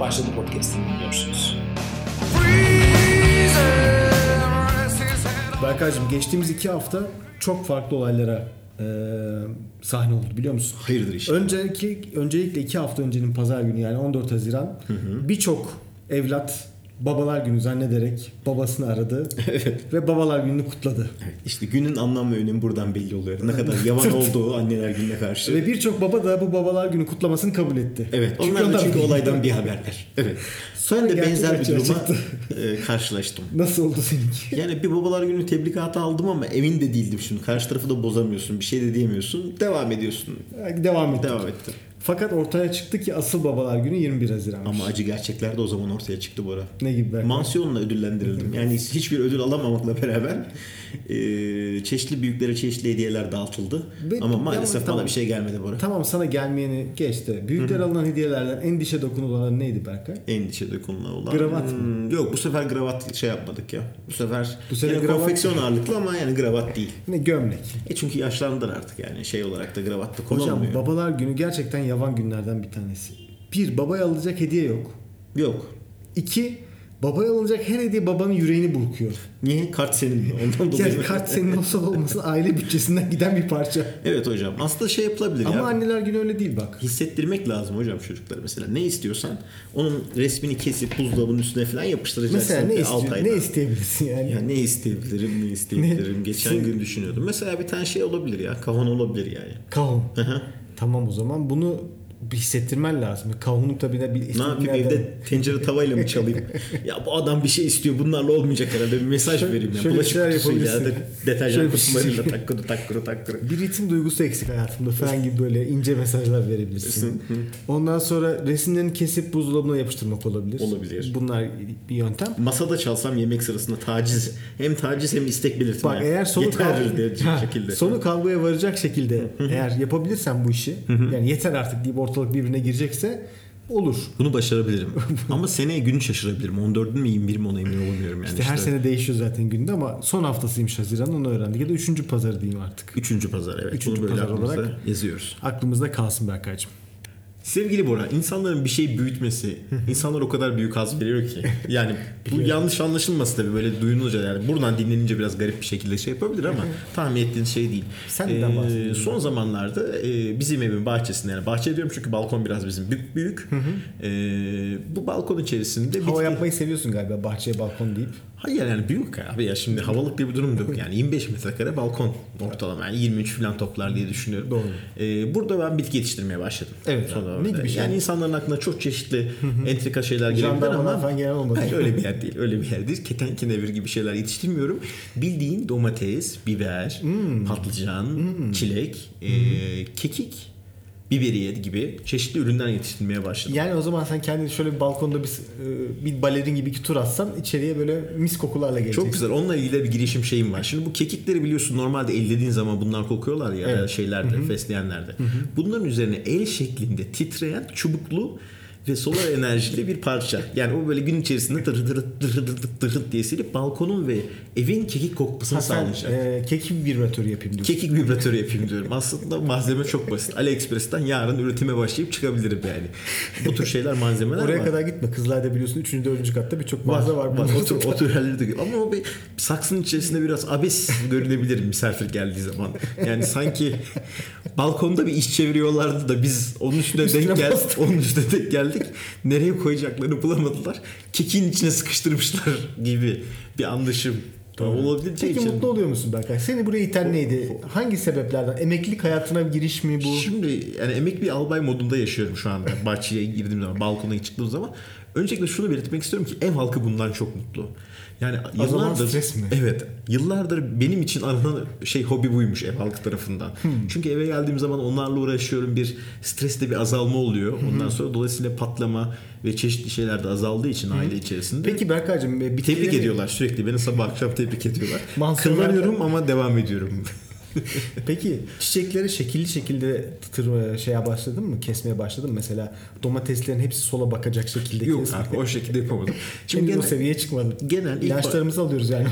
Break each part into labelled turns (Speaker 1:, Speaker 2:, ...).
Speaker 1: Başladı podcast'ini dinliyorsunuz.
Speaker 2: Berkay'cığım geçtiğimiz iki hafta çok farklı olaylara e, sahne oldu biliyor musun?
Speaker 3: Hayırdır işte.
Speaker 2: Önceki, öncelikle iki hafta öncenin pazar günü yani 14 Haziran birçok evlat babalar günü zannederek babasını aradı ve babalar gününü kutladı.
Speaker 3: İşte günün anlam ve önemi buradan belli oluyor. Ne kadar yavan olduğu anneler gününe karşı.
Speaker 2: Ve birçok baba da bu babalar günü kutlamasını kabul etti.
Speaker 3: Evet, onlar da çünkü olaydan bir haberler. Evet.
Speaker 2: Sonra
Speaker 3: Ben de
Speaker 2: gerçek
Speaker 3: benzer bir
Speaker 2: açığa
Speaker 3: duruma
Speaker 2: çıktı.
Speaker 3: e, karşılaştım.
Speaker 2: Nasıl oldu seninki?
Speaker 3: Yani bir babalar günü tebrikatı aldım ama emin de değildim şimdi. Karşı tarafı da bozamıyorsun, bir şey de diyemiyorsun. Devam ediyorsun.
Speaker 2: Devam ettik.
Speaker 3: Devam ettim.
Speaker 2: Fakat ortaya çıktı ki asıl babalar günü 21 Haziran'mış.
Speaker 3: Ama acı gerçekler de o zaman ortaya çıktı Bora.
Speaker 2: Ne gibi Berkay?
Speaker 3: Mansiyonla ödüllendirildim. Yani hiçbir ödül alamamakla beraber e, çeşitli büyüklere çeşitli hediyeler dağıtıldı.
Speaker 2: Ve-
Speaker 3: Ama maalesef
Speaker 2: Yalnız tamam.
Speaker 3: bana bir şey gelmedi Bora.
Speaker 2: Tamam sana gelmeyeni geç de. Büyükler alınan hediyelerden en dişe dokunulan neydi Berkay?
Speaker 3: Endişede konulan olan.
Speaker 2: Gravat mı?
Speaker 3: Hmm, Yok bu sefer gravat şey yapmadık ya. Bu sefer,
Speaker 2: Bu sefer
Speaker 3: yani
Speaker 2: gravat-
Speaker 3: konfeksiyon ağırlıklı ama yani gravat değil.
Speaker 2: Yine gömlek.
Speaker 3: E çünkü yaşlandılar artık yani şey olarak da gravat da
Speaker 2: Hocam
Speaker 3: kullanılmıyor.
Speaker 2: babalar günü gerçekten yavan günlerden bir tanesi. Bir, babaya alınacak hediye yok.
Speaker 3: Yok.
Speaker 2: İki, babaya alınacak her hediye babanın yüreğini burkuyor.
Speaker 3: Niye? Kart senin mi? Ondan dolayı.
Speaker 2: Yani kart senin olsa da olmasın aile bütçesinden giden bir parça.
Speaker 3: Evet hocam. Aslında şey yapılabilir
Speaker 2: Ama hani-
Speaker 3: ya.
Speaker 2: anneler günü öyle değil bak.
Speaker 3: Hissettirmek lazım hocam çocuklara mesela. Ne istiyorsan onun resmini kesip buzdolabının üstüne falan yapıştıracaksın.
Speaker 2: Mesela ne,
Speaker 3: Bir
Speaker 2: istiyor,
Speaker 3: altı ayda.
Speaker 2: ne isteyebilirsin yani?
Speaker 3: Ya ne isteyebilirim, ne isteyebilirim. Geçen
Speaker 2: Sen-
Speaker 3: gün düşünüyordum. Mesela bir tane şey olabilir ya. Kavon olabilir yani.
Speaker 2: Kavun. tamam o zaman bunu bir hissettirmen lazım. Kavunu tabii de bir
Speaker 3: Ne yapayım evde tencere tavayla mı çalayım? ya bu adam bir şey istiyor bunlarla olmayacak herhalde bir mesaj
Speaker 2: Şöyle-
Speaker 3: vereyim ya.
Speaker 2: şöyle
Speaker 3: Bulaşık
Speaker 2: şeyler
Speaker 3: kutusuyla ya da
Speaker 2: yapabilirsin. Şöyle
Speaker 3: deterjan
Speaker 2: bir
Speaker 3: kutularıyla
Speaker 2: şey-
Speaker 3: takkırı takkırı takkırı.
Speaker 2: Bir ritim duygusu eksik hayatımda falan gibi böyle ince mesajlar verebilirsin. Ondan sonra resimlerini kesip buzdolabına yapıştırmak olabilir.
Speaker 3: Olabilir.
Speaker 2: Bunlar bir yöntem.
Speaker 3: Masada çalsam yemek sırasında taciz. Hem taciz hem istek belirtme.
Speaker 2: Bak eğer sonu
Speaker 3: Yeter
Speaker 2: kav-
Speaker 3: diyecek
Speaker 2: Ha,
Speaker 3: şekilde.
Speaker 2: sonu kavgaya varacak şekilde eğer yapabilirsen bu işi yani yeter artık deyip ortalık birbirine girecekse olur.
Speaker 3: Bunu başarabilirim. Ama seneye günü şaşırabilirim. 14'ün mü 21 mi ona emin olamıyorum yani.
Speaker 2: İşte her sene değişiyor zaten günde ama son haftasıymış Haziran onu öğrendik ya da üçüncü pazarı diyeyim artık.
Speaker 3: Üçüncü pazar evet.
Speaker 2: Üçüncü
Speaker 3: Bunu böyle
Speaker 2: pazar
Speaker 3: aklımıza
Speaker 2: olarak-
Speaker 3: yazıyoruz.
Speaker 2: Aklımızda kalsın Berkay'cığım.
Speaker 3: Sevgili Bora, insanların bir şey büyütmesi, insanlar o kadar büyük haz veriyor ki. Yani bu yanlış anlaşılması tabii böyle duyununca yani buradan dinlenince biraz garip bir şekilde şey yapabilir ama tahmin ettiğin şey değil.
Speaker 2: Sen neden bahsediyorsun?
Speaker 3: Son zamanlarda e, bizim evin bahçesinde yani bahçe diyorum çünkü balkon biraz bizim büyük büyük. E, bu balkon içerisinde
Speaker 2: Hava
Speaker 3: bitki-
Speaker 2: yapmayı seviyorsun galiba bahçeye balkon deyip.
Speaker 3: Hayır yani büyük abi ya şimdi havalık diye bir durum da yok yani 25 metrekare balkon ortalama yani 23 falan toplar diye düşünüyorum.
Speaker 2: Doğru.
Speaker 3: Ee, burada ben bitki yetiştirmeye başladım.
Speaker 2: Evet.
Speaker 3: Son
Speaker 2: Ne
Speaker 3: dönemde.
Speaker 2: gibi şey?
Speaker 3: Yani insanların aklına çok çeşitli entrika şeyler gelebilir
Speaker 2: Jandarmalar
Speaker 3: ama
Speaker 2: falan gelen olmadı.
Speaker 3: Hayır, öyle bir yer değil öyle bir yer değil. Keten kenevir gibi şeyler yetiştirmiyorum. Bildiğin domates, biber,
Speaker 2: Hmm.
Speaker 3: patlıcan, çilek, e, kekik, biberiye gibi çeşitli ürünler yetiştirmeye başladım.
Speaker 2: Yani o zaman sen kendini şöyle bir balkonda bir, e, bir balerin gibi iki tur atsan içeriye böyle mis kokularla geleceksin.
Speaker 3: Çok güzel. Onunla ilgili de bir girişim şeyim var. Şimdi bu kekikleri biliyorsun normalde ellediğin zaman bunlar kokuyorlar ya
Speaker 2: Evet.
Speaker 3: şeylerde, fesleğenlerde. Bunların üzerine el şeklinde titreyen çubuklu ve solar enerjili bir parça. Yani o böyle gün içerisinde dırı dırı dırı dırı dırı diye silip balkonun ve evin kekik kokmasını
Speaker 2: Ha, sen
Speaker 3: sağlayacak.
Speaker 2: e, keki bir vibratörü yapayım diyorsun.
Speaker 3: Kekik vibratörü yapayım diyorum. Aslında malzeme çok basit. AliExpress'ten yarın üretime başlayıp çıkabilirim yani. Bu tür şeyler malzemeler
Speaker 2: Oraya
Speaker 3: var.
Speaker 2: kadar gitme. Kızılay'da biliyorsun 3. 4. katta birçok
Speaker 3: Var
Speaker 2: mağaza var.
Speaker 3: var. var. Otur, otur yerleri de gör- Ama o bir saksının içerisinde biraz abes görünebilir misafir geldiği zaman. Yani sanki balkonda bir iş çeviriyorlardı da biz onun üstüne denk geldik. Onun üstüne denk geldik. Nereye koyacaklarını bulamadılar. Kekin içine sıkıştırmışlar gibi bir anlaşım. Olabileceği
Speaker 2: Peki
Speaker 3: Şey için.
Speaker 2: mutlu oluyor musun Berkay? Seni buraya iten neydi? Hangi sebeplerden? Emeklilik hayatına giriş mi bu?
Speaker 3: Şimdi yani emekli bir albay modunda yaşıyorum şu anda. Bahçeye girdiğim zaman, balkona çıktığım zaman. Öncelikle şunu belirtmek istiyorum ki ev halkı bundan çok mutlu. Yani yıllardır
Speaker 2: zaman stres mi?
Speaker 3: Evet. Yıllardır benim için aranan şey hobi buymuş ev halkı tarafından.
Speaker 2: Hmm.
Speaker 3: Çünkü eve geldiğim zaman onlarla uğraşıyorum. Bir streste bir azalma oluyor. Ondan sonra dolayısıyla patlama ve çeşitli şeyler de azaldığı için aile içerisinde.
Speaker 2: Peki Berkay'cığım e, bitkileri...
Speaker 3: Tebrik ediyorlar sürekli. Beni sabah akşam tebrik ediyorlar.
Speaker 2: Mansur
Speaker 3: Kırlanıyorum ama devam ediyorum.
Speaker 2: E, Peki çiçekleri şekilli şekilde tır, e, şeye başladın mı? Kesmeye başladın mı? Mesela domateslerin hepsi sola bakacak şekilde
Speaker 3: Yok
Speaker 2: kesmeye-
Speaker 3: abi o şekilde yapamadım.
Speaker 2: Şimdi o
Speaker 3: genel-
Speaker 2: seviyeye çıkmadım.
Speaker 3: genel ilk
Speaker 2: ilaçlarımızı alıyoruz yani.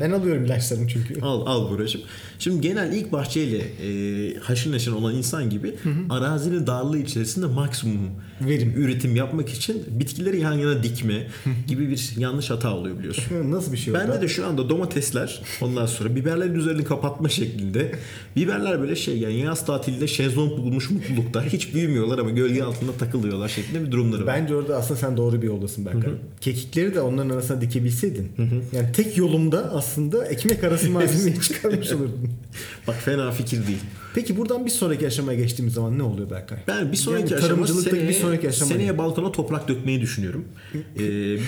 Speaker 2: Ben alıyorum ilaçlarımı çünkü.
Speaker 3: Al al Buracığım. Şimdi genel ilk bahçeyle e, haşır neşir olan insan gibi arazinin darlığı içerisinde maksimum
Speaker 2: Verim.
Speaker 3: üretim yapmak için bitkileri yan yana dikme gibi bir yanlış hata oluyor biliyorsun.
Speaker 2: Nasıl bir şey o da?
Speaker 3: Bende de şu anda domatesler ondan sonra biberlerin üzerini kapatma şeklinde. Biberler böyle şey yani yaz tatilinde şezlong bulmuş mutlulukta. Hiç büyümüyorlar ama gölge altında takılıyorlar şeklinde bir durumları var.
Speaker 2: Bence orada aslında sen doğru bir yoldasın Berkay. Kekikleri de onların arasına dikebilseydin. Yani tek yolumda aslında ekmek arası malzemeyi çıkarmış olurdun.
Speaker 3: Bak fena fikir değil.
Speaker 2: Peki buradan bir sonraki aşamaya geçtiğimiz zaman ne oluyor Berkay?
Speaker 3: Ben bir sonraki
Speaker 2: Yani
Speaker 3: aşama
Speaker 2: tarımcılıktaki
Speaker 3: seneye,
Speaker 2: bir sonraki aşama
Speaker 3: seneye
Speaker 2: ne?
Speaker 3: balkona toprak dökmeyi düşünüyorum. Ee,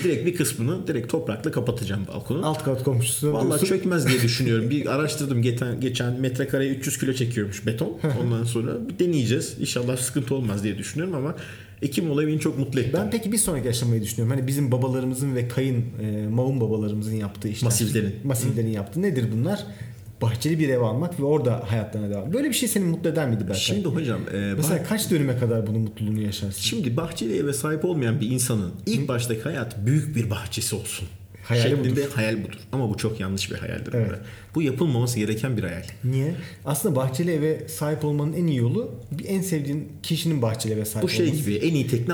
Speaker 3: direkt bir kısmını direkt toprakla kapatacağım balkonu.
Speaker 2: Alt kat komşusuna
Speaker 3: Vallahi
Speaker 2: diyorsun.
Speaker 3: çökmez diye düşünüyorum. Bir araştırdım geçen, geçen metrekareye 300 kilo çekiyormuş beton. Ondan sonra bir deneyeceğiz. İnşallah sıkıntı olmaz diye düşünüyorum ama Ekim olayı beni çok mutlu etti.
Speaker 2: Ben peki bir sonraki aşamayı düşünüyorum. Hani bizim babalarımızın ve kayın e, mavun babalarımızın yaptığı işler.
Speaker 3: Masiflerin.
Speaker 2: Masiflerin yaptığı. Nedir bunlar? Bahçeli bir ev almak ve orada hayatlarına devam. Böyle bir şey seni mutlu eder miydi Berkay?
Speaker 3: Şimdi hocam e, bah-
Speaker 2: Mesela kaç dönüme kadar bunun mutluluğunu yaşarsın?
Speaker 3: şimdi bahçeli eve sahip olmayan bir insanın ilk baştaki hayat büyük bir bahçesi olsun.
Speaker 2: Hayali
Speaker 3: şeklinde hayal budur. Ama bu çok yanlış bir hayaldir.
Speaker 2: Evet.
Speaker 3: Bu yapılmaması gereken bir hayal.
Speaker 2: Niye? Aslında bahçeli eve sahip olmanın en iyi yolu bir en sevdiğin kişinin bahçeli eve sahip
Speaker 3: Bu şey
Speaker 2: olması.
Speaker 3: gibi en iyi tekne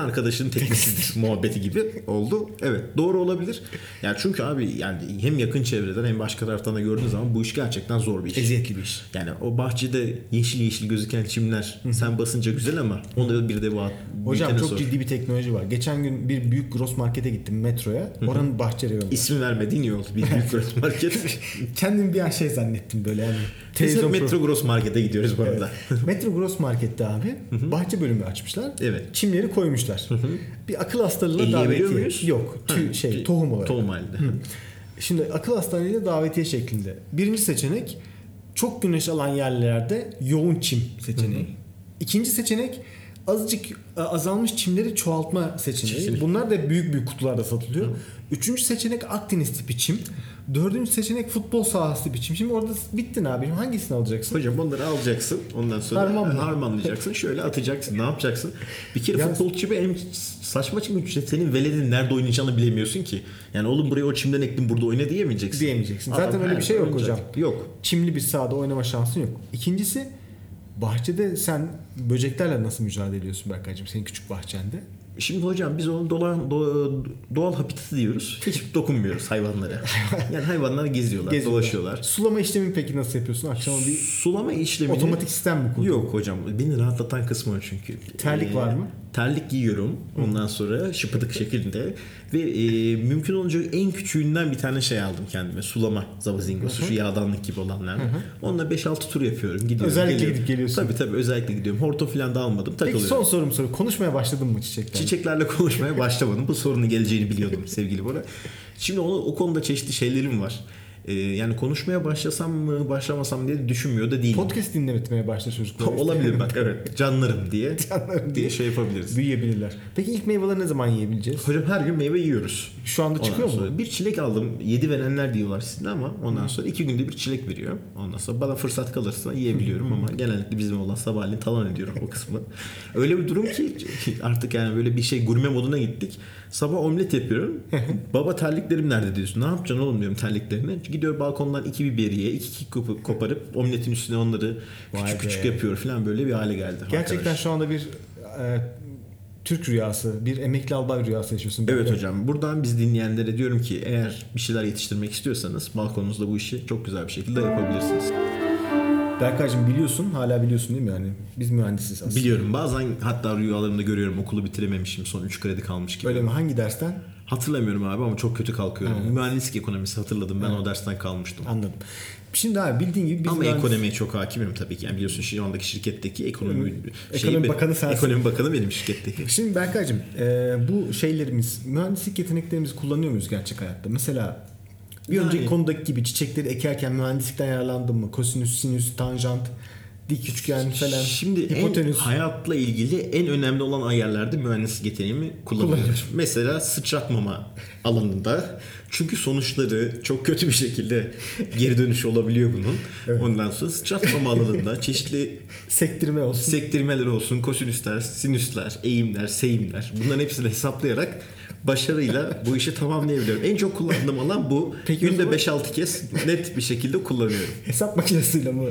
Speaker 3: arkadaşının teknesidir muhabbeti gibi oldu. Evet doğru olabilir. Yani çünkü abi yani hem yakın çevreden hem başka taraftan da gördüğün zaman bu iş gerçekten zor bir iş.
Speaker 2: Eziyetli bir iş.
Speaker 3: Yani o bahçede yeşil yeşil gözüken çimler sen basınca güzel ama onda bir de bu
Speaker 2: Hocam
Speaker 3: büyütene
Speaker 2: çok
Speaker 3: sor.
Speaker 2: ciddi bir teknoloji var. Geçen gün bir büyük gross markete gittim metroya. Oranın bahçeli evi var.
Speaker 3: İsmi vermediğin iyi oldu. Bir büyük gross market.
Speaker 2: Kendim bir an şey zannettim böyle yani.
Speaker 3: Teyze
Speaker 2: Televizyon
Speaker 3: Metro Gross Market'e gidiyoruz bu arada.
Speaker 2: Metro Gross Market'te abi bahçe bölümü açmışlar.
Speaker 3: Evet.
Speaker 2: Çimleri koymuşlar. Bir akıl hastalığına
Speaker 3: Elleyebiliyor
Speaker 2: davetiye.
Speaker 3: muyuz?
Speaker 2: Yok.
Speaker 3: Ha,
Speaker 2: Tü, şey tohum olarak.
Speaker 3: Tohum halinde.
Speaker 2: Şimdi akıl hastaneyle davetiye şeklinde. Birinci seçenek çok güneş alan yerlerde yoğun çim seçeneği. İkinci seçenek azıcık e, azalmış çimleri çoğaltma seçeneği.
Speaker 3: Seçenek.
Speaker 2: Bunlar da büyük büyük kutularda satılıyor. Üçüncü seçenek Akdeniz tipi çim. Dördüncü seçenek futbol sahası tipi çim. Şimdi orada bittin abicim hangisini alacaksın?
Speaker 3: Hocam onları alacaksın. Ondan sonra
Speaker 2: Harmanla.
Speaker 3: harmanlayacaksın. Şöyle atacaksın. Ne yapacaksın? Bir kere
Speaker 2: Ya-
Speaker 3: futbol çipi hem saçma çim çünkü senin veledin nerede oynayacağını bilemiyorsun ki. Yani oğlum buraya o çimden ektim burada oyna diyemeyeceksin.
Speaker 2: Diyemeyeceksin. Zaten
Speaker 3: Adam
Speaker 2: öyle bir
Speaker 3: her
Speaker 2: şey yok
Speaker 3: oynayacak.
Speaker 2: hocam.
Speaker 3: Yok.
Speaker 2: Çimli bir sahada oynama şansın yok. İkincisi bahçede sen böceklerle nasıl mücadele ediyorsun Berkay'cığım senin küçük bahçende?
Speaker 3: Şimdi hocam biz onun dolan, do- doğal habitatı diyoruz. Hiç dokunmuyoruz hayvanlara. yani hayvanlar geziyorlar,
Speaker 2: Geziyorlar.
Speaker 3: dolaşıyorlar.
Speaker 2: Sulama işlemi peki nasıl yapıyorsun? Akşama bir
Speaker 3: Sulama işlemini...
Speaker 2: Otomatik sistem mi kurdun?
Speaker 3: Yok hocam beni rahatlatan kısmı o çünkü. Ee,
Speaker 2: Terlik var mı?
Speaker 3: Terlik giyiyorum ondan sonra şıpıdık şeklinde ve e, mümkün olunca en küçüğünden bir tane şey aldım kendime sulama zavazingosu şu yağdanlık gibi olanlar. Onunla 5-6 tur yapıyorum gidiyorum.
Speaker 2: Özellikle
Speaker 3: geliyorum.
Speaker 2: gidip geliyorsun.
Speaker 3: Tabii tabii özellikle gidiyorum. Hortum falan da almadım
Speaker 2: Peki
Speaker 3: takılıyorum.
Speaker 2: son sorum soru. Konuşmaya başladın mı çiçeklerle?
Speaker 3: Çiçeklerle konuşmaya başlamadım. Bu sorunun geleceğini biliyordum sevgili Bora. Şimdi onu, o konuda çeşitli şeylerim var. E, yani konuşmaya başlasam mı başlamasam diye düşünmüyor da değilim.
Speaker 2: Podcast dinlemeye başla çocuklar.
Speaker 3: Olabilir bak evet. Canlarım diye.
Speaker 2: Canlarım
Speaker 3: diye.
Speaker 2: diye.
Speaker 3: şey yapabiliriz.
Speaker 2: Büyüyebilirler. Peki ilk meyveleri ne zaman yiyebileceğiz?
Speaker 3: Hocam her gün meyve yiyoruz.
Speaker 2: Şu anda
Speaker 3: Ondan
Speaker 2: çıkıyor mu?
Speaker 3: sonra Bir çilek aldım. Yedi verenler diyorlar sizde ama ondan sonra iki günde bir çilek veriyor. Ondan sonra bana fırsat kalırsa yiyebiliyorum ama genellikle bizim olan sabahleyin talan ediyorum o kısmı. Öyle bir durum ki artık yani böyle bir şey gurme moduna gittik. Sabah omlet yapıyorum. Baba terliklerim nerede diyorsun. Ne yapacaksın oğlum diyorum terliklerini. Gidiyor balkondan iki biberiye iki kik kopu- koparıp omletin üstüne onları
Speaker 2: Vay
Speaker 3: küçük
Speaker 2: be.
Speaker 3: küçük yapıyor falan böyle bir hale geldi.
Speaker 2: Gerçekten şu anda bir e, Türk rüyası, bir emekli albay rüyası yaşıyorsun.
Speaker 3: Evet
Speaker 2: Berkay.
Speaker 3: hocam buradan biz dinleyenlere diyorum ki eğer bir şeyler yetiştirmek istiyorsanız balkonunuzda bu işi çok güzel bir şekilde yapabilirsiniz.
Speaker 2: Berkaycığım biliyorsun, hala biliyorsun değil mi yani? Biz mühendisiz aslında.
Speaker 3: Biliyorum bazen hatta rüyalarımda görüyorum okulu bitirememişim son 3 kredi kalmış gibi.
Speaker 2: Öyle mi? Hangi dersten?
Speaker 3: Hatırlamıyorum abi ama çok kötü kalkıyorum. Mühendislik ekonomisi hatırladım ben o dersten kalmıştım.
Speaker 2: Anladım. Şimdi abi bildiğin gibi biz
Speaker 3: Ama
Speaker 2: mühendis-
Speaker 3: ekonomiye çok hakimim tabii ki. Yani biliyorsun şu andaki şirketteki ekonomi şey
Speaker 2: Ekonomi bakanı sensin.
Speaker 3: Ekonomi bakanı benim şirketteki.
Speaker 2: Şimdi Berkay'cığım e, bu şeylerimiz, mühendislik yeteneklerimizi kullanıyor muyuz gerçek hayatta? Mesela bir
Speaker 3: Yani-
Speaker 2: önceki konudaki gibi çiçekleri ekerken mühendislikten yararlandın mı? Kosinüs, sinüs, tanjant, dik üçgen falan,
Speaker 3: Şimdi en,
Speaker 2: hipotenüs.
Speaker 3: hayatla ilgili en önemli olan ayarlarda mühendislik yeteneğimi kullanılır. Mesela sıçratmama alanında. Çünkü sonuçları çok kötü bir şekilde geri dönüş olabiliyor bunun. Ondan sonra sıçratmama alanında çeşitli
Speaker 2: sektirme olsun.
Speaker 3: sektirmeler olsun, kosinüsler, sinüsler, eğimler, seyimler bunların hepsini hesaplayarak başarıyla bu işi tamamlayabiliyorum. En çok kullandığım alan bu.
Speaker 2: Peki o
Speaker 3: Günde
Speaker 2: zaman-
Speaker 3: 5-6 kez net bir şekilde kullanıyorum.
Speaker 2: Hesap makinesiyle mi?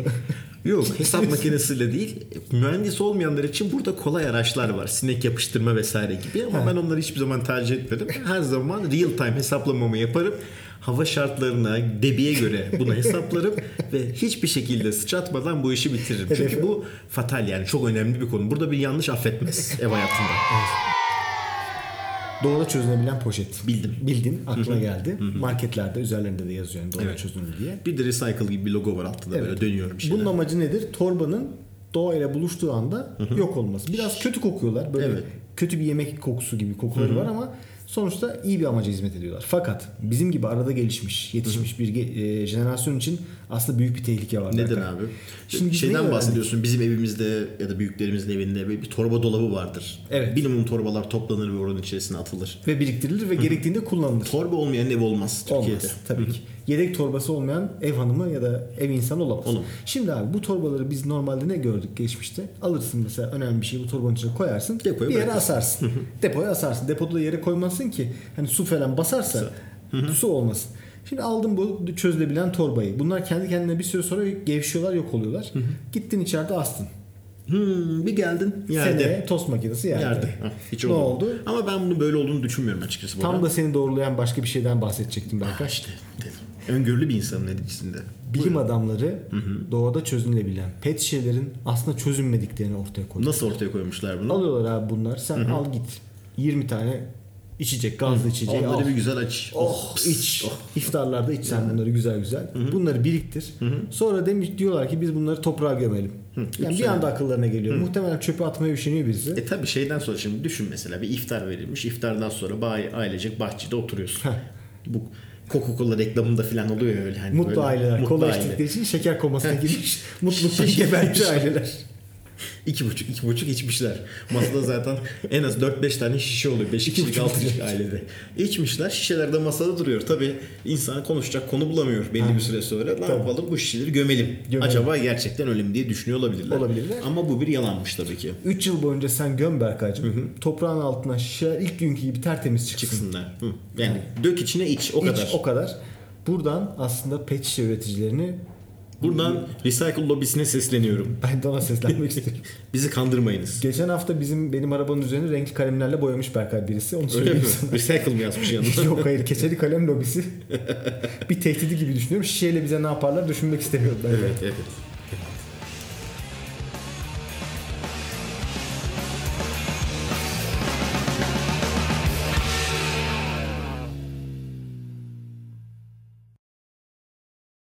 Speaker 3: Yok hesap makinesiyle değil. Mühendis olmayanlar için burada kolay araçlar var. Sinek yapıştırma vesaire gibi ama ben onları hiçbir zaman tercih etmedim. Her zaman real time hesaplamamı yaparım. Hava şartlarına, debiye göre bunu hesaplarım ve hiçbir şekilde sıçratmadan bu işi bitiririm. Çünkü bu fatal yani çok önemli bir konu. Burada bir yanlış affetmez ev hayatında.
Speaker 2: Doğru çözünebilen poşet.
Speaker 3: Bildim.
Speaker 2: Bildin. Aklına geldi. Marketlerde üzerlerinde de yazıyor yani doğru
Speaker 3: Evet.
Speaker 2: çözünür diye.
Speaker 3: Bir de recycle gibi bir logo var altta da böyle dönüyorum şeyler.
Speaker 2: Bunun amacı nedir? Torbanın doğayla buluştuğu anda yok olması. Biraz kötü kokuyorlar. Böyle
Speaker 3: Evet.
Speaker 2: kötü bir yemek kokusu gibi kokuları var ama sonuçta iyi bir amaca hizmet ediyorlar. Fakat bizim gibi arada gelişmiş, yetişmiş bir ge- e, jenerasyon için aslında büyük bir tehlike var.
Speaker 3: Neden
Speaker 2: Berkay.
Speaker 3: abi?
Speaker 2: Şimdi biz
Speaker 3: Şimdi
Speaker 2: neyi
Speaker 3: şeyden
Speaker 2: öğrendik?
Speaker 3: bahsediyorsun. Bizim evimizde ya da büyüklerimizin evinde bir bir torba dolabı vardır.
Speaker 2: Evet.
Speaker 3: Minimum torbalar toplanır ve oranın içerisine atılır.
Speaker 2: Ve biriktirilir ve gerektiğinde kullanılır.
Speaker 3: Torba olmayan ev olmaz Türkiye'de.
Speaker 2: Olmaz tabii ki. Yedek torbası olmayan ev hanımı ya da ev insanı olamaz.
Speaker 3: Olamaz.
Speaker 2: Şimdi abi bu torbaları biz normalde ne gördük geçmişte? Alırsın mesela önemli bir şeyi bu torbanın içine koyarsın.
Speaker 3: Depoya
Speaker 2: bir yere
Speaker 3: bırakırsın.
Speaker 2: asarsın. Depoya asarsın. Depoda da yere koymazsın ki hani su falan basarsa su olmasın. Şimdi aldım bu çözülebilen torbayı. Bunlar kendi kendine bir süre sonra gevşiyorlar, yok oluyorlar. Gittin içeride astın.
Speaker 3: Hmm, bir geldin yerde.
Speaker 2: Seneye tost makinesi yerde.
Speaker 3: Yerde. Hah, Hiç
Speaker 2: ne
Speaker 3: olmadı.
Speaker 2: oldu?
Speaker 3: Ama ben bunu böyle olduğunu düşünmüyorum açıkçası. bu
Speaker 2: Tam
Speaker 3: arada.
Speaker 2: da seni doğrulayan başka bir şeyden bahsedecektim ben.
Speaker 3: Ha işte dedim. Öngörülü bir insanın neticesinde.
Speaker 2: Bilim adamları doğada çözünebilen pet şişelerin aslında çözünmediklerini ortaya koydu.
Speaker 3: Nasıl ortaya koymuşlar bunu?
Speaker 2: Alıyorlar abi bunlar. Sen al git. 20 tane içecek, gazlı içecek
Speaker 3: Onları
Speaker 2: al.
Speaker 3: bir güzel aç.
Speaker 2: Şey, Oh
Speaker 3: pıs,
Speaker 2: iç.
Speaker 3: oh.
Speaker 2: İftarlarda iç sen bunları güzel güzel. Bunları biriktir. Sonra demiş diyorlar ki biz bunları toprağa gömelim. Yani bir
Speaker 3: Güzel.
Speaker 2: anda akıllarına geliyor. Muhtemelen çöpe atmaya üşeniyor birisi.
Speaker 3: E tabi şeyden sonra şimdi düşün mesela bir iftar verilmiş. İftardan sonra bay, ailecek bahçede oturuyorsun.
Speaker 2: Heh.
Speaker 3: Bu Coca-Cola reklamında falan oluyor ya öyle hani.
Speaker 2: mutlu
Speaker 3: böyle,
Speaker 2: aileler.
Speaker 3: Mutlu
Speaker 2: Kola
Speaker 3: aile.
Speaker 2: içtikleri için şeker komasına girmiş. Mutluluktan
Speaker 3: Şeker
Speaker 2: gebermiş
Speaker 3: içmiş.
Speaker 2: aileler.
Speaker 3: İki buçuk, iki buçuk içmişler. Masada zaten en az 4-5 tane şişe oluyor. 5 kişilik, 6 kişilik ailede. İçmişler, şişeler de masada duruyor. Tabi insan konuşacak konu bulamıyor belli bir süre sonra. Ne yapalım bu şişeleri gömelim.
Speaker 2: Gömelim.
Speaker 3: Acaba gerçekten öyle mi diye düşünüyor olabilirler.
Speaker 2: Olabilirler.
Speaker 3: Ama bu bir yalanmış tabii ki.
Speaker 2: 3 yıl boyunca sen göm Berkay'cığım. Toprağın altına şişeler ilk günkü gibi tertemiz çıksın.
Speaker 3: Çıksınlar. Hı. Yani dök içine iç o
Speaker 2: Hiç
Speaker 3: kadar.
Speaker 2: o kadar. Buradan aslında pet şişe üreticilerini
Speaker 3: Buradan recycle lobisine sesleniyorum.
Speaker 2: ben de ona seslenmek istiyorum.
Speaker 3: Bizi kandırmayınız.
Speaker 2: Geçen hafta bizim benim arabanın üzerine renkli kalemlerle boyamış Berkay birisi. Onu
Speaker 3: Öyle mi?
Speaker 2: söyleyeyim sana.
Speaker 3: Recycle mı yazmış yanına?
Speaker 2: Yok hayır keçeli kalem lobisi bir tehdidi gibi düşünüyorum. Şişeyle bize ne yaparlar düşünmek istemiyorum ben.
Speaker 3: evet evet.